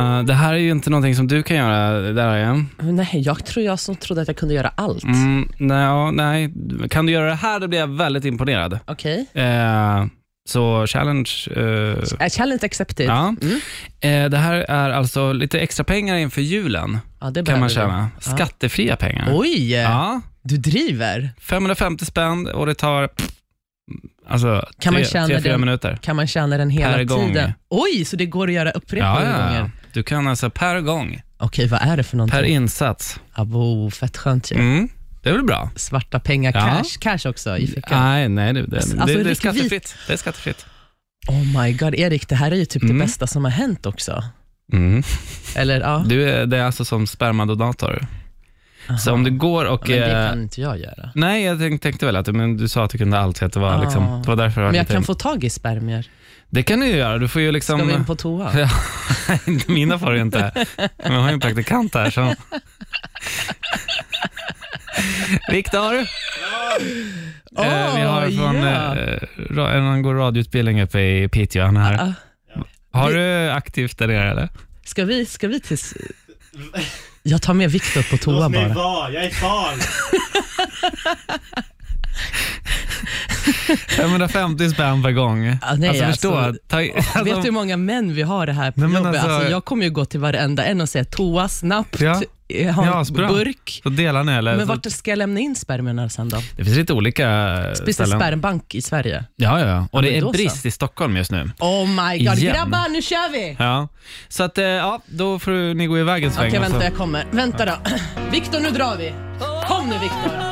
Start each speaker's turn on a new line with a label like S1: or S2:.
S1: Eh, det här är ju inte någonting som du kan göra, Darja.
S2: Nej, jag tror jag som trodde att jag kunde göra allt.
S1: Mm, nej, ja, nej, kan du göra det här, då blir jag väldigt imponerad.
S2: Okej.
S1: Eh, så challenge. eh,
S2: Okay. Challenge accepted.
S1: ja.
S2: Mm.
S1: Eh, det här är alltså lite extra pengar inför julen,
S2: Ja, det
S1: kan
S2: behöver
S1: man
S2: vi.
S1: tjäna.
S2: Ja. Oh,
S1: Skattefria pengar.
S2: Oj,
S1: Ja,
S2: du driver.
S1: 550 spänn och det tar pff, alltså,
S2: Kan man
S1: tre,
S2: tjäna
S1: tre, fyra
S2: den
S1: minuter.
S2: Kan man tjäna den hela
S1: Per gång.
S2: tiden? Oj, så det går att göra upprepade gånger? Mm.
S1: Du kan alltså per gång,
S2: Okej, vad är det för
S1: per
S2: någonting?
S1: insats.
S2: Abo, fett skönt ju.
S1: Mm. Det är väl bra?
S2: Svarta pengar,
S1: Ja.
S2: cash, cash också i fickan.
S1: Nej, nej det, det,
S2: Alltså,
S1: det, det är
S2: riktigt
S1: skattefritt. Det är skattefritt.
S2: Oh my god, Erik, det här är ju typ
S1: Mm.
S2: det bästa som har hänt också.
S1: Mm.
S2: Eller ja,
S1: Du, är- det är alltså som spermadonator.
S2: Aha.
S1: Så om du går och...
S2: men det
S1: eh,
S2: kan inte jag göra.
S1: Nej, jag tänk, tänkte väl att men du sa att du kunde allt, så att det var,
S2: Ah.
S1: liksom, det var därför jag var
S2: Men jag
S1: lite-
S2: kan få tag i spermier.
S1: Det kan du ju göra. Du får ju liksom...
S2: Ska vi in på toa?
S1: Ja, Mina får du inte. Men jag har ju en praktikant här som... Viktor! Eh, vi har
S2: Åh,
S1: från
S2: ja.
S1: eh, ra- en annan går radioutbildning uppe i Piteå. Han är här.
S2: Ah,
S1: Har du aktivt där nere eller?
S2: Ska vi, ska vi tills... Jag tar med Viktor på toa
S3: Låt mig
S2: bara.
S3: vara, jag är ett barn.
S1: 550 spänn per gång.
S2: Ah, nej,
S1: alltså förstå.
S2: alltså-
S1: ta, alltså,
S2: Vet du hur många män vi har det här på
S1: Nej, men
S2: jobbet? Alltså,
S1: alltså-
S2: jag kommer ju gå till varenda en och säga toa snabbt,
S1: Ja.
S2: eh, ha en
S1: Ja, sprang.
S2: burk.
S1: så delar ni eller?
S2: Men
S1: Så-
S2: vart ska jag lämna in spermierna sen då?
S1: Det finns lite olika eh,
S2: Finns det en
S1: ställen.
S2: spermbank i Sverige?
S1: Ja, ja, ja. Och
S2: men
S1: det
S2: då
S1: är
S2: så.
S1: brist i Stockholm just nu.
S2: Oh my god,
S1: Igen.
S2: grabbar nu kör vi!
S1: Ja. Så att, eh, ja, då får du- ni gå iväg en sväng.
S2: Okej
S1: och så-
S2: vänta jag kommer. Vänta då. Viktor nu drar vi. Kom nu Viktor.